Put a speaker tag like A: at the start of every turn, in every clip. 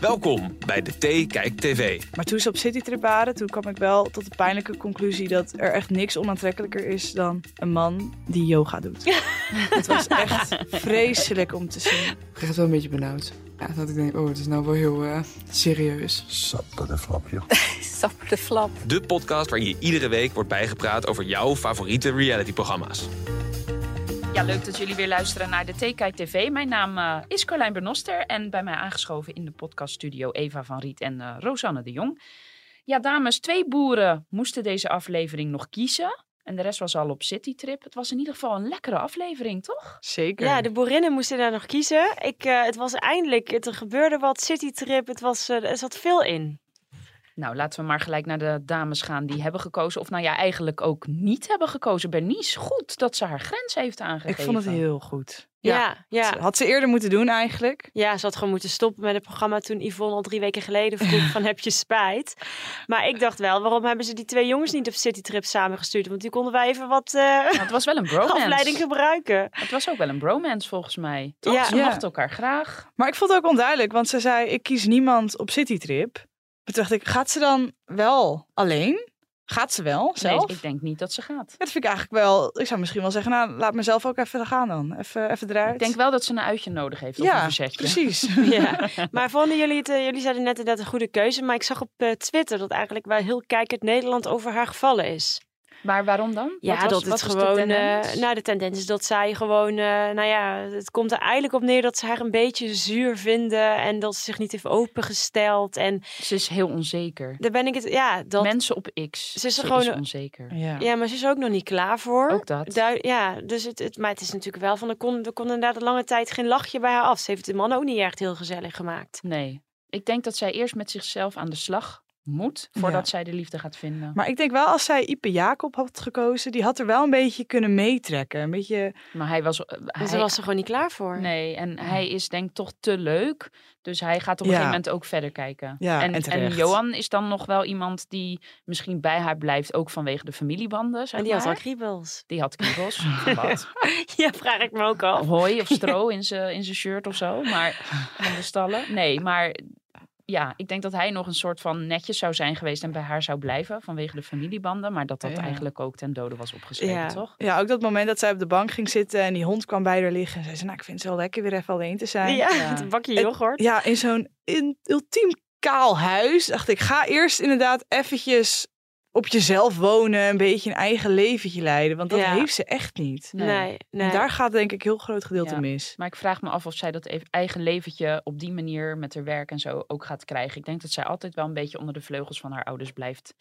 A: Welkom bij de T Kijk TV.
B: Maar toen ze op citytrip waren, toen kwam ik wel tot de pijnlijke conclusie dat er echt niks onaantrekkelijker is dan een man die yoga doet. het was echt vreselijk om te zien.
C: Ik werd wel een beetje benauwd. Ja, dat ik denk, oh, het is nou wel heel eh, serieus.
D: Sapper de flap, joh.
E: Sapper de flap.
A: De podcast waarin je iedere week wordt bijgepraat over jouw favoriete realityprogramma's.
F: Ja, leuk dat jullie weer luisteren naar de TKI TV. Mijn naam eh, is Carlijn Bernoster en bij mij aangeschoven in de podcaststudio Eva van Riet en eh, Rosanne de Jong. Ja, dames, twee boeren moesten deze aflevering nog kiezen. En de rest was al op citytrip. Het was in ieder geval een lekkere aflevering, toch?
B: Zeker.
G: Ja, de boerinnen moesten daar nog kiezen. Ik, eh, het was eindelijk, het, er gebeurde wat, citytrip, het was, eh, er zat veel in.
F: Nou, laten we maar gelijk naar de dames gaan die hebben gekozen. Of nou ja, eigenlijk ook niet hebben gekozen. Bernice, goed dat ze haar grens heeft aangegeven.
B: Ik vond het heel goed.
G: Ja, ja.
B: Had ze eerder moeten doen eigenlijk.
G: Ja, ze had gewoon moeten stoppen met het programma toen Yvonne al drie weken geleden vroeg van heb je spijt. Maar ik dacht wel, waarom hebben ze die twee jongens niet op citytrip samengestuurd? Want die konden wij even wat eh,
F: Nou, het was wel een bromance.
G: afleiding gebruiken.
F: Het was ook wel een bromance volgens mij. Toch?
G: Ja.
F: Ze
B: Ja.
F: mochten elkaar graag.
B: Maar ik vond het ook onduidelijk, want ze zei ik kies niemand op citytrip. Maar toen dacht ik, gaat ze dan wel alleen? Gaat ze wel zelf?
F: Nee, ik denk niet dat ze gaat.
B: Dat vind ik eigenlijk wel, ik zou misschien wel zeggen, nou laat mezelf ook even gaan dan. Even, even eruit.
F: Ik denk wel dat ze een uitje nodig heeft of een
B: ja,
F: verzetje.
B: precies.
G: Ja. Maar vonden jullie het, eh, jullie zeiden net inderdaad een goede keuze. Maar ik zag op eh, Twitter dat eigenlijk wel heel kijkend Nederland over haar gevallen is.
F: Maar waarom dan?
G: Ja,
F: Wat was-
G: dat
F: wat
G: het
F: was de
G: gewoon. eh,
F: tendens?
G: nou, de tendens is dat zij gewoon. eh, nou ja, het komt er eigenlijk op neer dat ze haar een beetje zuur vinden. En dat ze zich niet heeft opengesteld. En
F: Ze is heel onzeker.
G: daar ben ik het. Ja, dat.
F: Mensen op X.
G: Ze is er gewoon-
F: onzeker.
B: Ja.
G: Ja, maar ze is er ook nog niet klaar voor.
F: Ook dat.
G: Daar- ja, dus het, het, maar het is natuurlijk wel van. Er kon, er kon inderdaad een lange tijd geen lachje bij haar af. Ze heeft de man ook niet echt heel gezellig gemaakt.
F: Nee. Ik denk dat zij eerst met zichzelf aan de slag moet voordat zij de liefde gaat vinden.
B: Maar ik denk wel, als zij Ipe Jacob had gekozen, die had er wel een beetje kunnen meetrekken. Een beetje,
F: Maar hij was. eh,
G: Dus
F: hij-
G: daar was ze gewoon niet klaar voor.
F: Nee, en hij is denk ik toch te leuk. Dus hij gaat op een
B: Ja.
F: gegeven moment ook verder kijken.
B: Ja, en
F: en,
B: terecht.
F: Johan is dan nog wel iemand die misschien bij haar blijft, ook vanwege de familiebanden. Zeg
G: En die had
F: maar.
G: al kriebels.
F: Die had kriebels. Van Wat?
G: Ja, vraag ik me ook al.
F: Hooi of stro in zijn in zijn shirt of zo. Maar van de stallen. Nee, maar ja, ik denk dat hij nog een soort van netjes zou zijn geweest en bij haar zou blijven vanwege de familiebanden. Maar dat dat
B: Ja.
F: eigenlijk ook ten dode was opgeschreven,
G: Ja.
F: toch?
B: ja, ook dat moment dat zij op de bank ging zitten en die hond kwam bij haar liggen. En zei ze, nou ik vind het wel lekker weer even alleen te zijn.
G: Ja,
F: Ja.
G: het bakje yoghurt.
B: Ja, in zo'n in- ultiem kaal huis dacht ik, ga eerst inderdaad eventjes op jezelf wonen. Een beetje een eigen leventje leiden, want dat
G: Ja.
B: heeft ze echt niet.
F: Nee.
G: Nee, nee.
B: En daar gaat denk ik een heel groot gedeelte
F: Ja.
B: mis.
F: Maar ik vraag me af of zij dat e- eigen leventje op die manier met haar werk en zo ook gaat krijgen. Ik denk dat zij altijd wel een beetje onder de vleugels van haar ouders blijft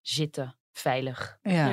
F: zitten. Veilig.
B: Ja.
G: Ja.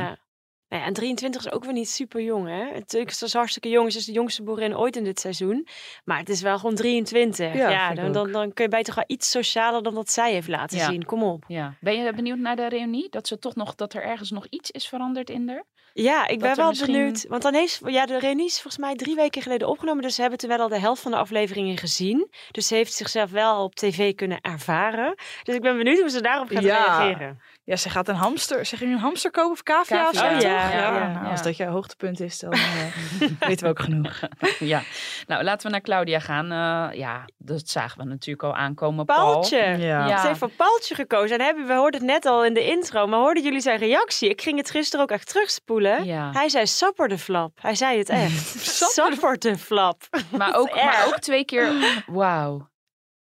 G: Nou ja, en 23 is ook weer niet super jong, hè? Natuurlijk is ze hartstikke jong. Ze is de jongste boerin ooit in dit seizoen. Maar het is wel gewoon 23.
B: Ja,
G: Ja,
B: vind ik
G: dan,
B: ook.
G: dan, dan kun je bij toch wel iets socialer dan dat zij heeft laten
F: Ja.
G: zien. Kom op.
F: Ja. Ben je benieuwd naar de reunie? Dat ze toch nog dat er ergens nog iets is veranderd in haar?
G: Ja, ik
F: Dat
G: ben
F: er
G: wel
F: misschien-
G: benieuwd. Want dan heeft ja, de reunie is volgens mij drie weken geleden opgenomen. Dus ze hebben toen wel al de helft van de afleveringen gezien. Dus ze heeft zichzelf wel op tv kunnen ervaren. Dus ik ben benieuwd hoe ze daarop gaat
B: Ja.
G: reageren.
B: Ja, ze gaat een hamster. Ze ging een hamster kopen of cavia of zo.
F: Cavia.
G: Oh,
B: toch?
G: ja,
B: Nou,
G: ja,
B: nou,
F: ja.
B: Als dat je hoogtepunt is, dan eh, weten we ook genoeg.
F: Ja, nou laten we naar Claudia gaan. Eh, ja, dat zagen we natuurlijk al aankomen. Paul.
G: Paaltje.
B: Ja.
F: Ja.
G: Ze heeft voor Paaltje gekozen. En hebben, we hoorden het net al in de intro, maar hoorden jullie zijn reactie? Ik ging het gisteren ook echt terugspoelen.
F: Ja,
G: Hij zei sapper de flap. Hij zei het echt. sapper de flap.
F: maar ook, maar
G: erg.
F: ook twee keer. Wauw.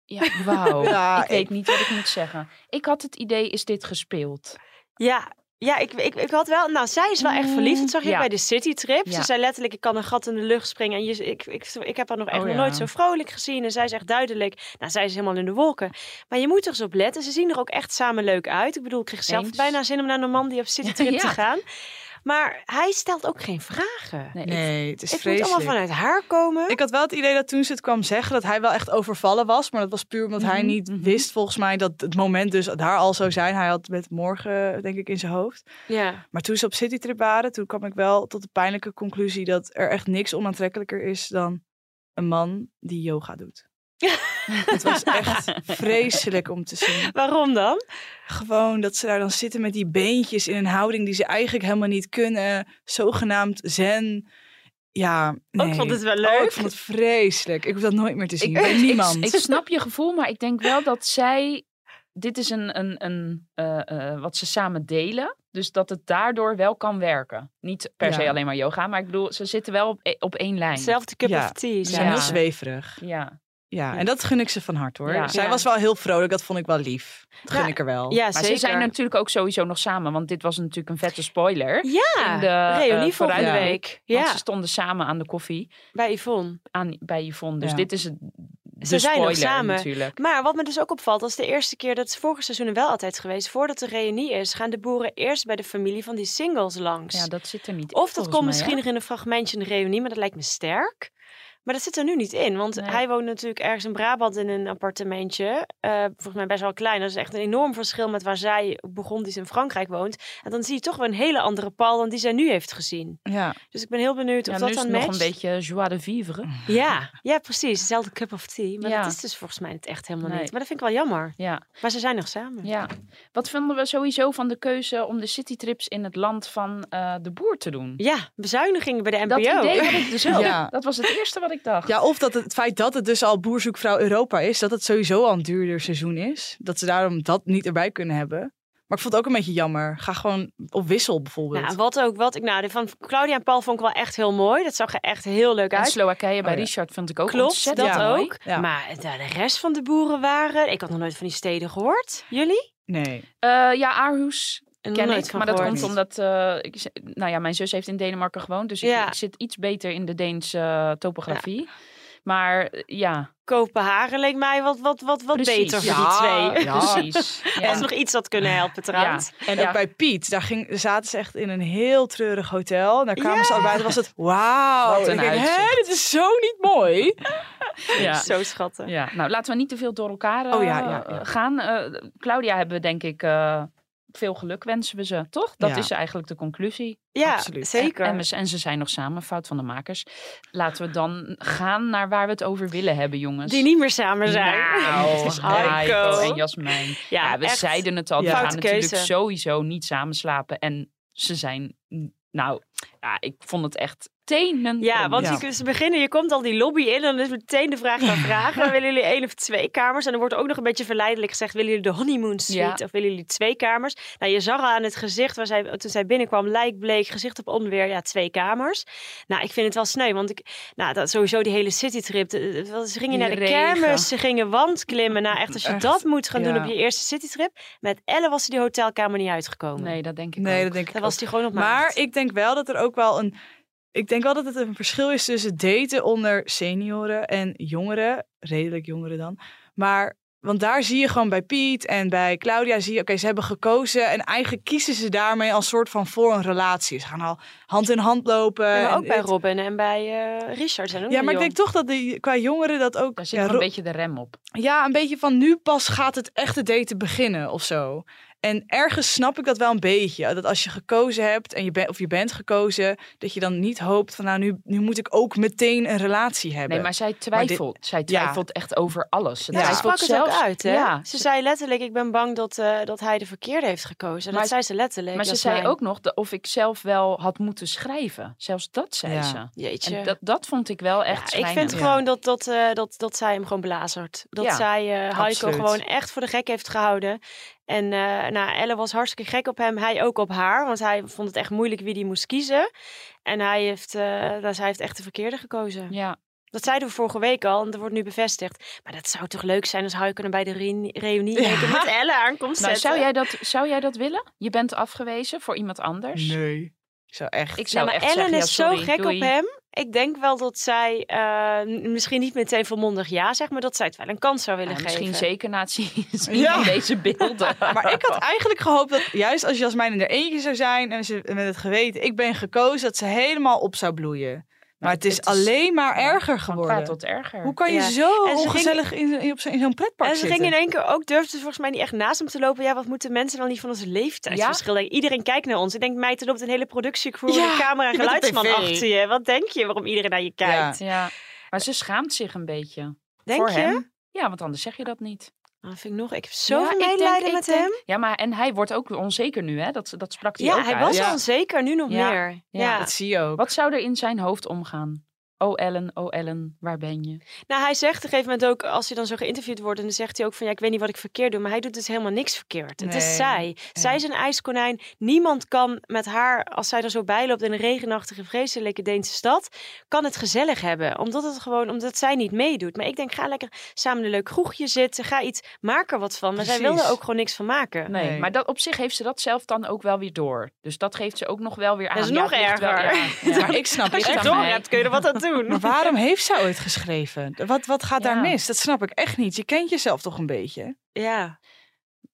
F: Ja, wauw.
B: Ja,
F: ik weet niet wat ik moet zeggen. Ik had het idee, is dit gespeeld?
G: Ja, ja ik, ik, ik had wel... Nou, zij is wel echt verliefd. Dat zag je
F: Ja.
G: bij de citytrip.
F: Ja.
G: Ze zei letterlijk, ik kan een gat in de lucht springen. En je, ik, ik, ik heb haar nog echt
F: Oh,
G: nog
F: ja.
G: nooit zo vrolijk gezien. En zij is echt duidelijk. Nou, zij is helemaal in de wolken. Maar je moet er eens op letten. Ze zien er ook echt samen leuk uit. Ik bedoel, ik kreeg zelf
F: Eens.
G: bijna zin om naar Normandie op citytrip
F: Ja.
G: te gaan. Maar hij stelt ook geen vragen.
F: Nee. ik-
B: Nee, het is
G: Het moet allemaal
B: vreselijk.
G: vanuit haar komen.
B: Ik had wel het idee dat toen ze het kwam zeggen dat hij wel echt overvallen was. Maar dat was puur omdat hij
F: Mhm,
B: niet
F: mhm.
B: wist, volgens mij, dat het moment dus daar al zou zijn. Hij had met morgen, denk ik, in zijn hoofd.
G: Ja.
B: Maar toen ze op citytrip waren, toen kwam ik wel tot de pijnlijke conclusie dat er echt niks onaantrekkelijker is dan een man die yoga doet. Het was echt vreselijk om te zien.
G: Waarom dan?
B: Gewoon dat ze daar dan zitten met die beentjes in een houding die ze eigenlijk helemaal niet kunnen. Zogenaamd zen. Ja,
G: Ook
B: nee.
G: vond het wel
B: Oh,
G: leuk.
B: ik vond het vreselijk. Ik hoef dat nooit meer te zien.
F: Ik-
B: bij niemand.
F: Ik snap je gevoel, maar ik denk wel dat zij. Dit is een, een, een eh, eh, wat ze samen delen. Dus dat het daardoor wel kan werken. Niet per se
B: Ja.
F: alleen maar yoga, maar ik bedoel, ze zitten wel op, e- op één lijn.
G: Hetzelfde cup
B: Ja.
G: of tea.
B: Ze
F: Ja.
B: zijn heel
G: Ja.
B: zweverig.
F: Ja.
B: Ja, en dat gun ik ze van hart hoor.
F: Ja.
B: Zij
G: Ja.
B: was wel heel vrolijk, dat vond ik wel lief. Dat gun
G: Ja,
B: ik er wel.
G: Ja,
F: Maar
G: zeker.
F: ze zijn natuurlijk ook sowieso nog samen, want dit was natuurlijk een vette spoiler.
G: Ja,
F: in de,
G: reunie
F: eh,
G: volgende
B: vooruitgang.
G: week.
F: Want
G: Ja,
F: ze stonden samen aan de koffie
G: bij Yvonne.
F: aan, bij Yvonne. Dus
B: Ja.
F: dit is het. De
G: Ze zijn nog
F: spoiler
G: samen.
F: natuurlijk.
G: Maar wat me dus ook opvalt, dat is de eerste keer, dat is vorige seizoen wel altijd geweest, voordat de reunie is, gaan de boeren eerst bij de familie van die singles langs.
F: Ja, dat zit er niet
G: of dat
F: volgens mij,
G: komt misschien
F: hè?
G: nog in een fragmentje in de reunie, maar dat lijkt me sterk. Maar dat zit er nu niet in, want
F: Nee.
G: hij woont natuurlijk ergens in Brabant in een appartementje. eh, volgens mij best wel klein. Dat is echt een enorm verschil met waar zij Burgondisch in Frankrijk woont. En dan zie je toch wel een hele andere Paul dan die zij nu heeft gezien.
B: Ja.
G: Dus ik ben heel benieuwd
F: Ja,
G: of
F: nu
G: dat Mm.
F: is
G: dan
F: het
G: matcht.
F: nog een beetje joie de vivre.
G: Ja, ja, precies. Dezelfde cup of tea. Maar
F: Ja.
G: dat is dus volgens mij het echt helemaal
F: Nee.
G: niet. Maar dat vind ik wel jammer.
F: Ja.
G: Maar ze zijn nog samen.
F: Ja, wat vonden we sowieso van de keuze om de citytrips in het land van eh, de boer te doen?
G: Ja, bezuinigingen bij de NPO.
F: Dat idee had ik dus ook.
B: Ja.
F: Dat was het eerste wat ik dacht.
B: ja, of dat het, het feit dat het dus al Boerzoekvrouw Europa is, dat het sowieso al een duurder seizoen is. Dat ze daarom dat niet erbij kunnen hebben. Maar ik vond het ook een beetje jammer. Ga gewoon op wissel bijvoorbeeld.
G: Nou, wat ook, wat ik nou, de van Claudia en Paul vond ik wel echt heel mooi. Dat zag er echt heel leuk
F: En
G: uit.
F: Slowakije bij
B: Oh ja.
F: Richard vond ik ook
G: Klopt, dat
F: ontzettend mooi.
G: ook.
B: Ja.
G: Maar eh, de, de rest van de boeren waren. Ik had nog nooit van die steden gehoord. Jullie?
B: nee.
F: Eh, ja, Aarhus
G: Nog
F: ken
G: nooit
F: ik,
G: van
F: maar dat
G: gehoord.
F: komt omdat... eh, ik, z- nou ja, mijn zus heeft in Denemarken gewoond, dus ik-
G: Ja.
F: ik, zit iets beter in de Deense eh, topografie. Maar eh, ja,
G: Kopenhagen leek mij wat, wat, wat, wat
F: Precies.
G: beter voor
B: Ja,
G: die twee.
B: ja.
F: precies. Ja.
G: Als nog iets had kunnen helpen trouwens.
B: En
F: Ja.
B: ook bij Piet, daar ging, zaten ze echt in een heel treurig hotel. En daar kwamen ze allebei en was het wauw.
F: Wat een
B: En ik denk,
F: uitzicht.
B: Hè, dit is zo niet mooi.
F: Ja.
G: Zo schattig.
F: Ja, nou laten we niet te veel door elkaar eh,
B: Oh ja, ja, ja.
F: gaan. Eh, Claudia hebben we denk ik eh, veel geluk wensen we ze, toch? Dat
B: Ja.
F: is eigenlijk de conclusie.
G: Ja,
B: Absoluut.
G: zeker.
F: En, we z- en ze zijn nog samen, fout van de makers. Laten we dan gaan naar waar we het over willen hebben, jongens.
G: Die niet meer samen zijn.
F: Nou, Heiko en Jasmijn. Ja, we
G: echt.
F: zeiden het al, we
B: Ja.
F: gaan
G: Foute
F: natuurlijk
G: keuze.
F: sowieso niet samen slapen. En ze zijn, nou, ja, ik vond het echt tenen.
G: Ja, want
B: Oh, Ja.
G: je kunt- ze beginnen, je komt al die lobby in en dan is meteen de vraag naar vragen. willen jullie één of twee kamers? En dan wordt ook nog een beetje verleidelijk gezegd, willen jullie de honeymoon suite of willen jullie twee kamers? Nou, je zag al aan het gezicht, waar zij, toen zij binnenkwam, lijkbleek, gezicht op onweer, ja, twee kamers. Nou, ik vind het wel sneu, want ik, nou, dat, sowieso die hele citytrip, de- de- wel, ze gingen
F: Die
G: naar de
F: regen.
G: kermis, ze gingen wandklimmen. Nou, echt, als je
B: Echt,
G: dat moet gaan doen
B: ja.
G: op je eerste citytrip, met Elle was ze die hotelkamer niet uitgekomen.
F: Nee, dat denk ik
B: Nee,
F: ook.
B: dat denk ik
G: Daar
B: ook.
G: was die gewoon op
B: Maar
G: maand.
B: ik denk wel dat er ook wel een. Ik denk wel dat het een verschil is tussen daten onder senioren en jongeren. Redelijk jongeren dan. Maar. Want daar zie je gewoon bij Piet en bij Claudia zie je, oké, ze hebben gekozen en eigenlijk kiezen ze daarmee als soort van voor een relatie. Ze gaan al hand in hand lopen.
G: Ja, maar
B: en
G: ook bij
B: dit-
G: Robin en bij eh, Richard zijn ook
B: eh, Ja,
G: nog
B: maar ik
G: jong.
B: denk toch dat die, qua jongeren dat ook.
F: Daar zit
B: ja,
F: nog
B: Ro-
F: een beetje de rem op.
B: ja, een beetje van nu pas gaat het echte daten beginnen of zo. En ergens snap ik dat wel een beetje. Dat als je gekozen hebt en je bent of je bent gekozen, dat je dan niet hoopt van nou, nu, nu moet ik ook meteen een relatie hebben.
F: Nee, maar zij twijfelt. Zij twijfelt echt over alles. Ze
G: Ja, ze
F: twijfelt
G: sprak het ook
F: zelfs-
G: uit, hè?
F: Ja,
G: Ze zei letterlijk, ik ben bang dat, eh, dat hij de verkeerde heeft gekozen. En
F: Maar-
G: dat zei ze letterlijk.
F: maar ze
G: Jasmijn.
F: zei ook nog de- of ik zelf wel had moeten schrijven. Zelfs dat zei
B: Ja.
F: ze.
G: Jeetje.
F: En dat, dat vond ik wel
G: Ja,
F: echt
G: ik
F: schrijnend.
G: vind
B: Ja.
G: gewoon dat, dat, eh, dat, dat zij hem gewoon belazert. Dat
F: Ja,
G: zij eh, Heiko
B: absoluut.
G: gewoon echt voor de gek heeft gehouden. En eh, nou, Elle was hartstikke gek op hem. Hij ook op haar. Want hij vond het echt moeilijk wie die moest kiezen. En hij heeft, eh, nou, zij heeft echt de verkeerde gekozen.
F: Ja,
G: Dat zeiden we vorige week al. En dat wordt nu bevestigd. Maar dat zou toch leuk zijn als Heiko er bij de reuni- reunie in één keer met Elle aankomt
F: nou,
G: zetten.
F: zou, jij dat, zou jij dat willen? Je bent afgewezen voor iemand anders.
B: Nee. Ik zou echt.
F: Ik
G: Ja,
F: zou
G: maar
F: echt
G: Nou, Ellen
F: zeggen, ja,
G: is
F: sorry,
G: zo gek
F: doei.
G: op hem. Ik denk wel dat zij eh, m- misschien niet meteen volmondig ja zegt, maar dat zij het wel een kans zou
F: Ja,
G: willen geven.
F: misschien zeker na het zien, zien
B: Ja.
F: van deze beelden.
B: Maar ik had eigenlijk gehoopt dat juist als Jasmijn er eentje zou zijn en ze met het geweten, ik ben gekozen, dat ze helemaal op zou bloeien. Maar het is, alleen maar
F: ja,
B: erger
F: van kwaad
B: geworden.
F: tot erger.
B: Hoe kan je
G: Ja.
B: zo
G: En ze ging-
B: ongezellig in, in, op zo'n- in zo'n pretpark
G: En ze
B: zitten?
G: ging in één keer ook, durfde ze volgens mij niet echt naast hem te lopen. Ja, wat moeten mensen dan niet van ons leeftijdsverschil denken? Iedereen kijkt naar ons. Ik denk, meid, er loopt een hele productiecrew,
B: Ja,
G: een camera en
B: je bent op
G: geluidsman
B: tv.
G: achter je. Wat denk je waarom iedereen naar je kijkt?
F: Ja, maar ze schaamt zich een beetje.
G: Denk
F: voor
G: je?
F: hem. Ja, want anders zeg je dat niet.
G: Dat vind ik nog... Ik heb zoveel
F: ik denk-
G: medelijden
F: ik
G: met
F: denk-
G: hem.
F: Ja, maar en hij wordt ook onzeker nu, hè? Dat, dat sprak hij
G: Ja,
F: ook
G: hij
F: uit.
G: was
B: Ja.
G: onzeker, nu nog
F: Ja.
G: meer.
F: Ja.
G: Ja.
B: Dat zie je ook.
F: Wat zou er in zijn hoofd omgaan? Oh Ellen, oh Ellen, waar ben je?
G: Nou, hij zegt op een gegeven moment ook, als hij dan zo geïnterviewd wordt, en dan zegt hij ook van, ja, ik weet niet wat ik verkeerd doe, maar hij doet dus helemaal niks verkeerd. Het
B: Nee.
G: is zij. Zij is een ijskonijn. Niemand kan met haar, als zij er zo bij loopt in een regenachtige, vreselijke Deense stad, kan het gezellig hebben. Omdat het gewoon, omdat zij niet meedoet. Maar ik denk, ga lekker samen in een leuk kroegje zitten, ga iets, maak er wat van. Maar zij
B: Precies.
G: wilde ook gewoon niks van maken.
F: Nee,
B: Nee.
F: maar dat, op zich heeft ze dat zelf dan ook wel weer door. Dus dat geeft ze ook nog wel weer aan.
G: Dat is
F: Ja,
G: nog
F: het ligt wel-
G: erger.
F: ja, ja.
B: Maar ik snap
G: Als
B: het
G: je het
F: aan
B: echt
G: door
F: mij.
G: hebt, kun je er wat aan doen.
B: Maar waarom heeft zij ooit geschreven? Wat, wat gaat
F: Ja.
B: daar mis? Dat snap ik echt niet. Je kent jezelf toch een beetje?
G: Ja,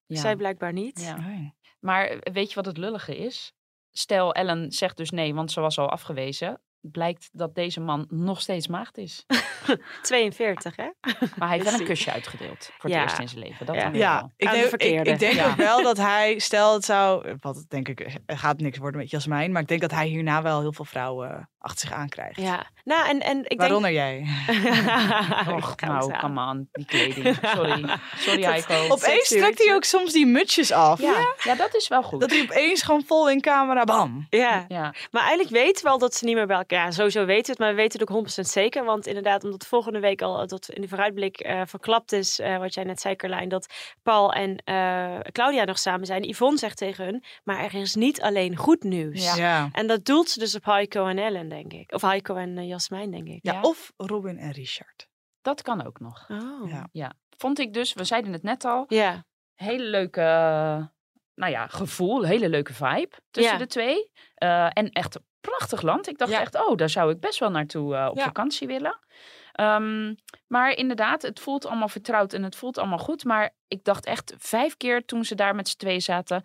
F: Ja.
G: zij blijkbaar niet.
F: Ja.
B: Nee.
F: Maar weet je wat het lullige is? Stel, Ellen zegt dus nee, want ze was al afgewezen. Blijkt dat deze man nog steeds maagd is.
G: 42, hè?
F: Maar hij heeft wel een
G: Zie.
F: kusje uitgedeeld. Voor
G: Ja.
F: het eerst in zijn leven. Dat
G: Ja.
F: dan weer
B: Ja,
F: wel.
B: ik
G: Aan de
B: denk, ik,
G: verkeerde.
B: ik denk
F: Ja.
B: ook wel dat hij, stel het zou, wat het denk ik, het gaat niks worden met Jasmijn, maar ik denk dat hij hierna wel heel veel vrouwen achter zich aankrijgt.
G: Ja. Nou, en, en ik denk...
B: Waaronder jij.
F: Och, nou, come on. Die kleding. Sorry. Sorry,
G: Dat-
F: Heiko.
B: Opeens
G: sexy,
B: trekt
G: weet
B: hij
G: je.
B: ook soms die mutsjes af.
F: Ja. ja, dat is wel goed.
B: Dat hij opeens gewoon vol in camera, bam.
G: Ja,
F: Ja.
G: maar eigenlijk weten we al dat ze niet meer bij elkaar... Ja, sowieso weten we het, maar we weten het ook 100% zeker. Want inderdaad, omdat volgende week al dat in de vooruitblik eh, verklapt is... eh, wat jij net zei, Carlijn, dat Paul en eh, Claudia nog samen zijn. Yvonne zegt tegen hun, maar er is niet alleen goed nieuws.
F: Ja.
B: ja.
G: En dat doelt ze dus op Heiko en Ellen, denk ik. Of Heiko en eh, Jasmijn, denk ik.
B: Ja,
F: Ja.
B: Of Robin en Richard.
F: Dat kan ook nog.
G: Oh.
B: Ja.
G: Ja.
F: Vond ik dus, we zeiden het net al,
G: Ja.
F: hele leuke, eh, nou ja, gevoel, hele leuke vibe tussen
G: Ja.
F: de twee. Eh, en echt een prachtig land. Ik dacht
B: Ja.
F: echt, oh, daar zou ik best wel naartoe eh, op
B: Ja.
F: vakantie willen. Ehm, maar inderdaad, het voelt allemaal vertrouwd en het voelt allemaal goed. Maar ik dacht echt vijf keer toen ze daar met z'n twee zaten.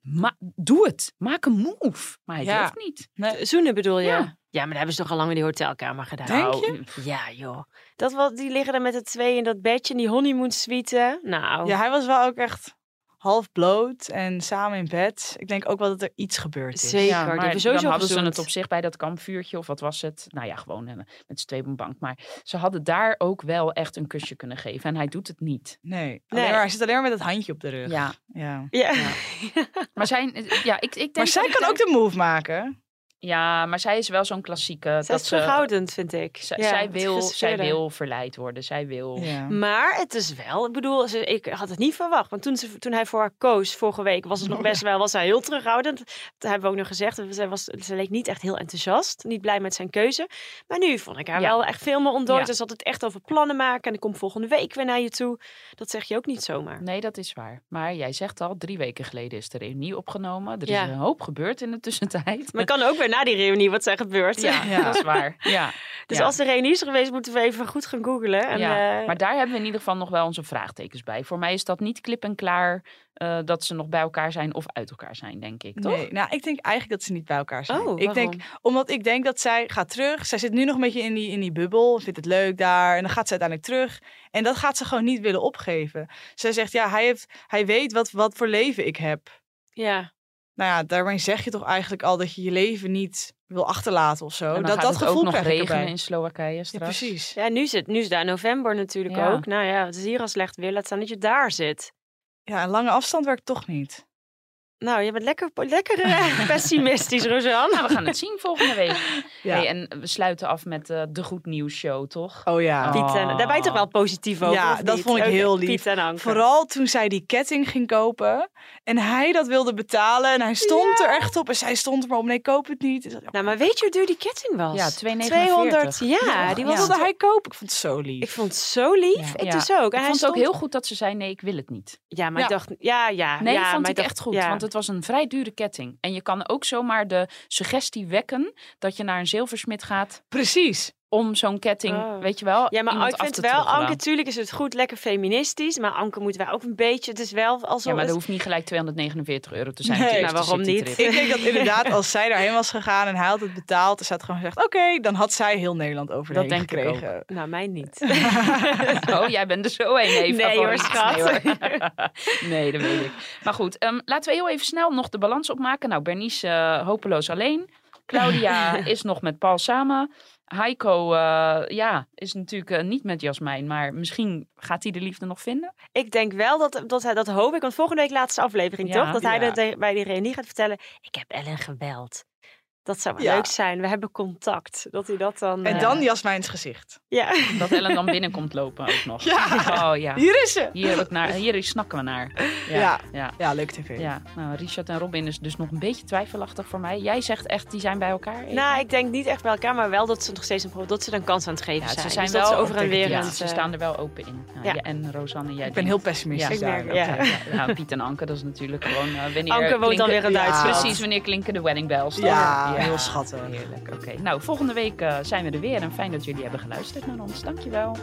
F: Ma doe het. Maak een move. Maar hij
B: Ja.
F: durft niet.
G: Zoenen bedoel je?
F: Ja.
G: Ja. maar daar hebben ze toch al lang in die hotelkamer gedaan. Oh,
B: Denk je?
F: Nou,
G: Ja, joh. Dat wat, die liggen daar met de twee in dat bedje, in die honeymoon suite. Nou,
B: Ja, hij was wel ook echt half bloot en samen in bed. Ik denk ook wel dat er iets gebeurd is.
G: Zeker,
F: Ja,
G: die
F: maar
G: hebben
F: dan
G: sowieso
F: hadden ze
G: gezoend.
F: het op zich bij dat kampvuurtje of wat was het? Nou ja, gewoon eh, met z'n tweeën op een bank. Maar ze hadden daar ook wel echt een kusje kunnen geven. En hij doet het niet.
B: Nee, alleen
G: Nee.
B: maar, hij zit alleen maar met het handje op de rug.
F: Ja,
B: Ja.
G: Ja.
F: Ja. maar, zijn, ja, ik, ik denk
B: Maar zij
F: dat ik
B: kan ook
F: denk-
B: de move maken.
F: Ja, maar zij is wel zo'n klassieke.
G: Zij
F: Eh, dat
G: is terughoudend, vind ik.
F: ze,
G: Ja,
F: zij,
G: het
F: wil, zij
G: gefrustreerde.
F: wil verleid worden. Zij wil.
B: Ja.
G: Maar het is wel, ik bedoel, ze- ik had het niet verwacht. Want toen, ze, toen hij voor haar koos vorige week, was het nog best wel, was hij heel terughoudend. Dat hebben we ook nog gezegd. Ze, was, ze leek niet echt heel enthousiast, niet blij met zijn keuze. Maar nu vond ik haar
F: Ja.
G: wel echt veel meer ontdooid.
F: Ja.
G: Ze zat het echt over plannen maken en ik kom volgende week weer naar je toe. Dat zeg je ook niet zomaar.
F: Nee, dat is waar. Maar jij zegt al, drie weken geleden is de reunie opgenomen. Er
G: Ja.
F: is een hoop gebeurd in de tussentijd.
G: Maar kan ook weer na die reunie wat zijn gebeurd.
F: ja,
B: Ja.
F: dat is waar. Ja.
G: Dus
F: ja.
G: als de reunie is geweest, moeten we even goed gaan googlen. En,
F: ja,
G: eh,
F: maar daar hebben we in ieder geval nog wel onze vraagtekens bij. Voor mij is dat niet klip en klaar eh, dat ze nog bij elkaar zijn of uit elkaar zijn, denk ik. Toch?
B: Nee, nou, ik denk eigenlijk dat ze niet bij elkaar zijn.
G: Oh,
B: ik denk, omdat ik denk dat zij gaat terug. Zij zit nu nog een beetje in die, in die bubbel, vindt het leuk daar. En dan gaat ze uiteindelijk terug. En dat gaat ze gewoon niet willen opgeven. Zij zegt, ja, hij, heeft, hij weet wat, wat voor leven ik heb.
G: Ja.
B: Nou ja, daarmee zeg je toch eigenlijk al dat je je leven niet wil achterlaten of zo.
G: Oh,
F: En dan
B: dat
F: gaat
B: dat
F: het
B: gevoel
F: ook nog
B: krijg ik
F: regenen
B: erbij.
F: in Slowakije
B: Ja,
F: straks.
B: precies.
G: ja, nu is het nu is het daar november natuurlijk
F: Ja.
G: ook. Nou ja, het is hier al slecht weer. Laat staan dat je daar zit.
B: Ja, een lange afstand werkt toch niet.
G: Nou, je bent lekker, lekker eh, pessimistisch, Rosanne.
F: Nou, we gaan het zien volgende week.
B: Ja.
F: Hey, en we sluiten af met eh, de Goed Nieuws Show, toch?
B: Oh ja.
F: Oh.
G: Piet en, daar ben je toch wel positief over?
B: Ja,
G: of
B: dat
G: niet?
B: vond ik
G: Ook
B: heel lief.
G: Piet en Anke.
B: Vooral toen zij die ketting ging kopen en hij dat wilde betalen en hij stond er echt op en zij stond er maar om nee koop het niet.
G: Nou, maar weet je hoe duur die ketting was?
F: Ja,
G: 200.
F: 2,49.
G: Ja, die
B: Wat
G: was.
F: Ja.
B: wilde hij kopen? Ik vond het zo lief.
G: Ik vond het zo lief.
B: Ja.
G: Ik
F: Ja.
G: dus ook. En
F: Ik
G: hij
F: vond het
G: stond...
F: ook heel goed dat ze zei, nee, ik wil het niet.
G: Ja, maar
B: Ja.
G: ik dacht, ja, ja.
F: Nee,
G: ja, maar
F: vond ik
G: dacht-
F: echt goed,
G: ja.
F: want het was een vrij dure ketting. En je kan ook zomaar de suggestie wekken dat je naar een zilversmid gaat
B: Precies.
F: om zo'n ketting,
G: Oh.
F: weet je wel,
G: Ja, maar
F: iemand
G: ik
F: af
G: vind
F: te
G: wel,
F: troggelen.
G: Anke, tuurlijk is het goed, lekker feministisch. Maar Anke moeten wij ook een beetje, het is wel alsof...
F: Ja, maar
G: het-
F: dat hoeft niet gelijk 249 euro te zijn.
B: Nee.
F: natuurlijk, dus
G: Nou,
F: de
G: waarom
F: citytrip.
G: niet?
B: Ik denk dat inderdaad als zij daarheen was gegaan en hij had het betaald en ze had gewoon gezegd oké, dan had zij heel Nederland over de
F: Dat
B: heen
F: denk ik ook.
B: gekregen.
G: Nou, mij niet.
F: Oh, jij bent er zo een, Eva.
G: Nee,
F: Van-
G: hoor, schat.
F: Nee, hoor. Nee, dat weet ik. Maar goed, ehm, laten we heel even snel nog de balans opmaken. Nou, Bernice eh, hopeloos alleen. Claudia is nog met Paul samen. Heiko eh, ja, is natuurlijk eh, niet met Jasmijn, maar misschien gaat hij de liefde nog vinden.
G: Ik denk wel dat, dat hij dat hoop ik. Want volgende week laatste aflevering,
F: Ja.
G: toch? Dat hij
A: Ja.
G: dat de- bij die reunie gaat vertellen. Ik heb Ellen gebeld. Dat zou wel
B: Ja.
G: leuk zijn. We hebben contact. Dat hij dat dan.
B: En
G: eh,
B: dan Jasmijns gezicht.
G: ja.
F: Dat Ellen dan binnenkomt lopen ook nog.
B: Ja.
F: Oh ja.
B: Hier is ze!
F: Hier, ook naar, hier snakken we naar.
B: Ja.
F: ja.
B: Ja, leuk tv.
F: Ja, nou, Richard en Robin is dus nog een beetje twijfelachtig voor mij. Jij zegt echt, die zijn bij elkaar. Eva?
G: Nou, ik denk niet echt bij elkaar, maar wel dat ze nog steeds een pro- dat ze dan kans aan het geven
F: Ja,
G: zijn.
F: ze zijn
G: Dus
F: wel
G: dat ze over en weer.
F: ja,
G: aan het,
F: ze
G: eh,
F: staan er wel open in. Ja,
G: Ja.
F: ja, en Rosanne, jij
B: Ik ben heel
F: denkt-
B: pessimistisch
F: Ja.
B: daar.
G: Ik merk- ja.
F: Ja, ja, Piet en Anke, dat is natuurlijk gewoon eh, wanneer
G: Anke woont
F: klinken-
G: dan weer in
B: Ja.
G: Duitsland.
F: Precies, wanneer klinken de wedding bells? toch?
B: Ja, heel schattig.
F: Heerlijk, oké. Nou, volgende week eh, zijn we er weer en fijn dat jullie hebben geluisterd naar ons. Dankjewel.